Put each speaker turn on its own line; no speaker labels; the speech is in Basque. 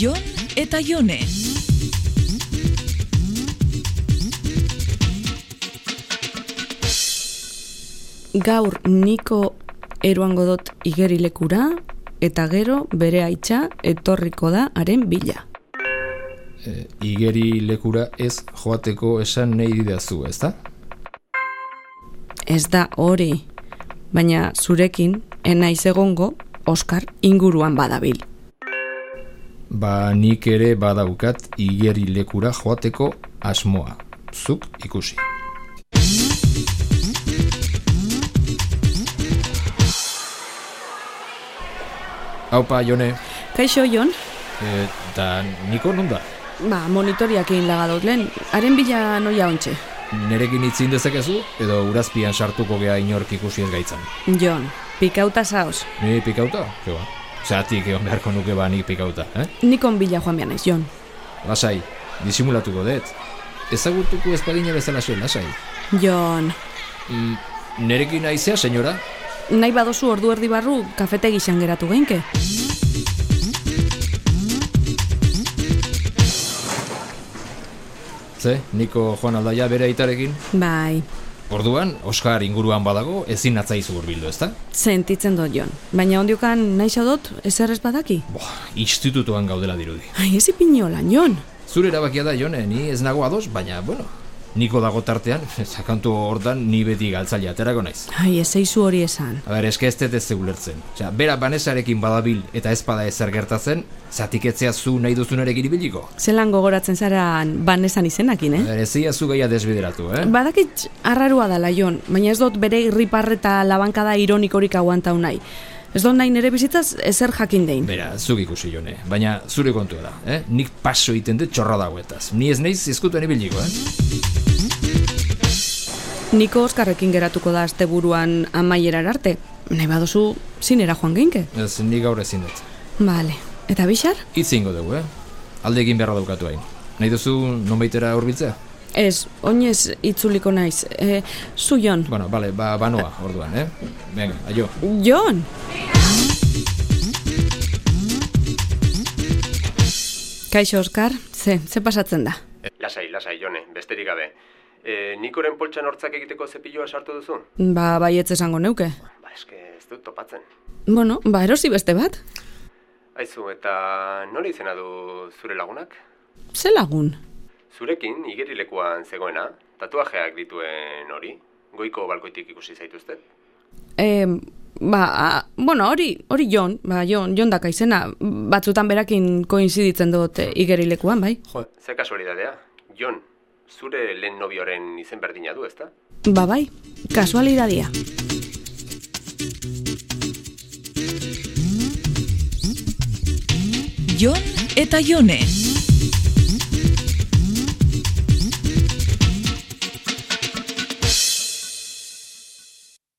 Jon eta Jone.
Gaur niko eroango dot igerilekura eta gero bere aitza etorriko da haren bila.
E, igeri lekura ez joateko esan nahi didazu, ez da?
Ez da hori, baina zurekin enaiz egongo Oskar inguruan badabil.
Ba nik ere badaukat igeri lekura joateko asmoa. Zuk ikusi. Haupa, Jone,
Kaixo Jon,
e, da niko non da?
ba, monitoriak egin lagadot lehen, haren bila noia ontxe.
Nerekin itzin dezakezu, edo urazpian sartuko gea inork ikusi ez gaitzan.
Jon, pikauta zaoz,
Ni pikauta? Keba. Zatik egon beharko nuke ba nik pikauta, eh?
nikon bila joan behar naiz, Jon.
Lasai, disimulatuko dut. Ezagutuko ez bagina bezala zuen, lasai.
Jon,
Mm, nerekin aizea, senyora?
nahi badozu ordu erdi barru kafete gixan geratu geinke.
Ze, niko joan aldaia bere aitarekin?
Bai,
Orduan, Oskar inguruan badago, ezin atzaizu hurbildu, ezta?
sentitzen dut, Jon. Baina ondiokan nahi dut, ezer ez badaki.
Boa, institutuan gaudela dirudi.
Ai, ez ipinolan, Jon.
Zure erabakia da, Jone, ni ez nago ados, baina, bueno, niko dago tartean, sakantu hortan ni beti galtzaile aterako naiz.
Ai, ez eizu hori esan.
A ber, eske ez dut ez ulertzen. Osea, bera banesarekin badabil eta ez bada ezer gertatzen, zatiketzea zu nahi duzunarekin ibiliko.
Zelan gogoratzen zara banesan izenakin,
A
eh?
ber, ezia zu gaia desbideratu, eh?
Badakit arrarua dala, Jon, baina ez dut bere irriparre eta labankada ironikorik aguantau nahi. Ez dut nahi nere bizitzaz ezer jakin dein.
Bera, zuk ikusi jone, baina zure kontua da, eh? Nik paso egiten dut txorra dagoetaz. Ni ez naiz izkutuan ibiliko, eh?
Niko Oskarrekin geratuko da asteburuan amaierar arte. Nahi badozu, zinera joan geinke.
Ez, ni gaur ezin dut.
Bale, eta bixar?
Hitz egingo dugu, eh? Alde egin beharra daukatu hain. Nahi duzu nonbaitera hurbiltzea?
Ez, oinez itzuliko naiz. E, zu, Jon.
Bueno, bale, ba, banoa, orduan, eh? Venga, aio.
Jon! Kaixo, Oskar, ze, ze pasatzen da?
Lasai, lasai, jone, besterik gabe. E, Nikoren poltsan hortzak egiteko zepilloa sartu duzu?
Ba, baietz esango neuke.
Ba, eske ez dut topatzen.
Bueno, ba, erosi beste bat.
Aizu, eta nola izena du zure lagunak?
Ze lagun?
Zurekin, igerilekuan zegoena, tatuajeak dituen hori, goiko balkoitik ikusi zaituzte.
E, ba, a, bueno, hori, hori Jon, ba, Jon, Jon daka izena, batzutan berakin koinziditzen dut e, igerilekuan, bai?
Jo, ze kasualidadea, Jon, zure lehen nobioren izen berdina du, ezta?
Ba, bai, kasualidadia.
Jon eta Jone.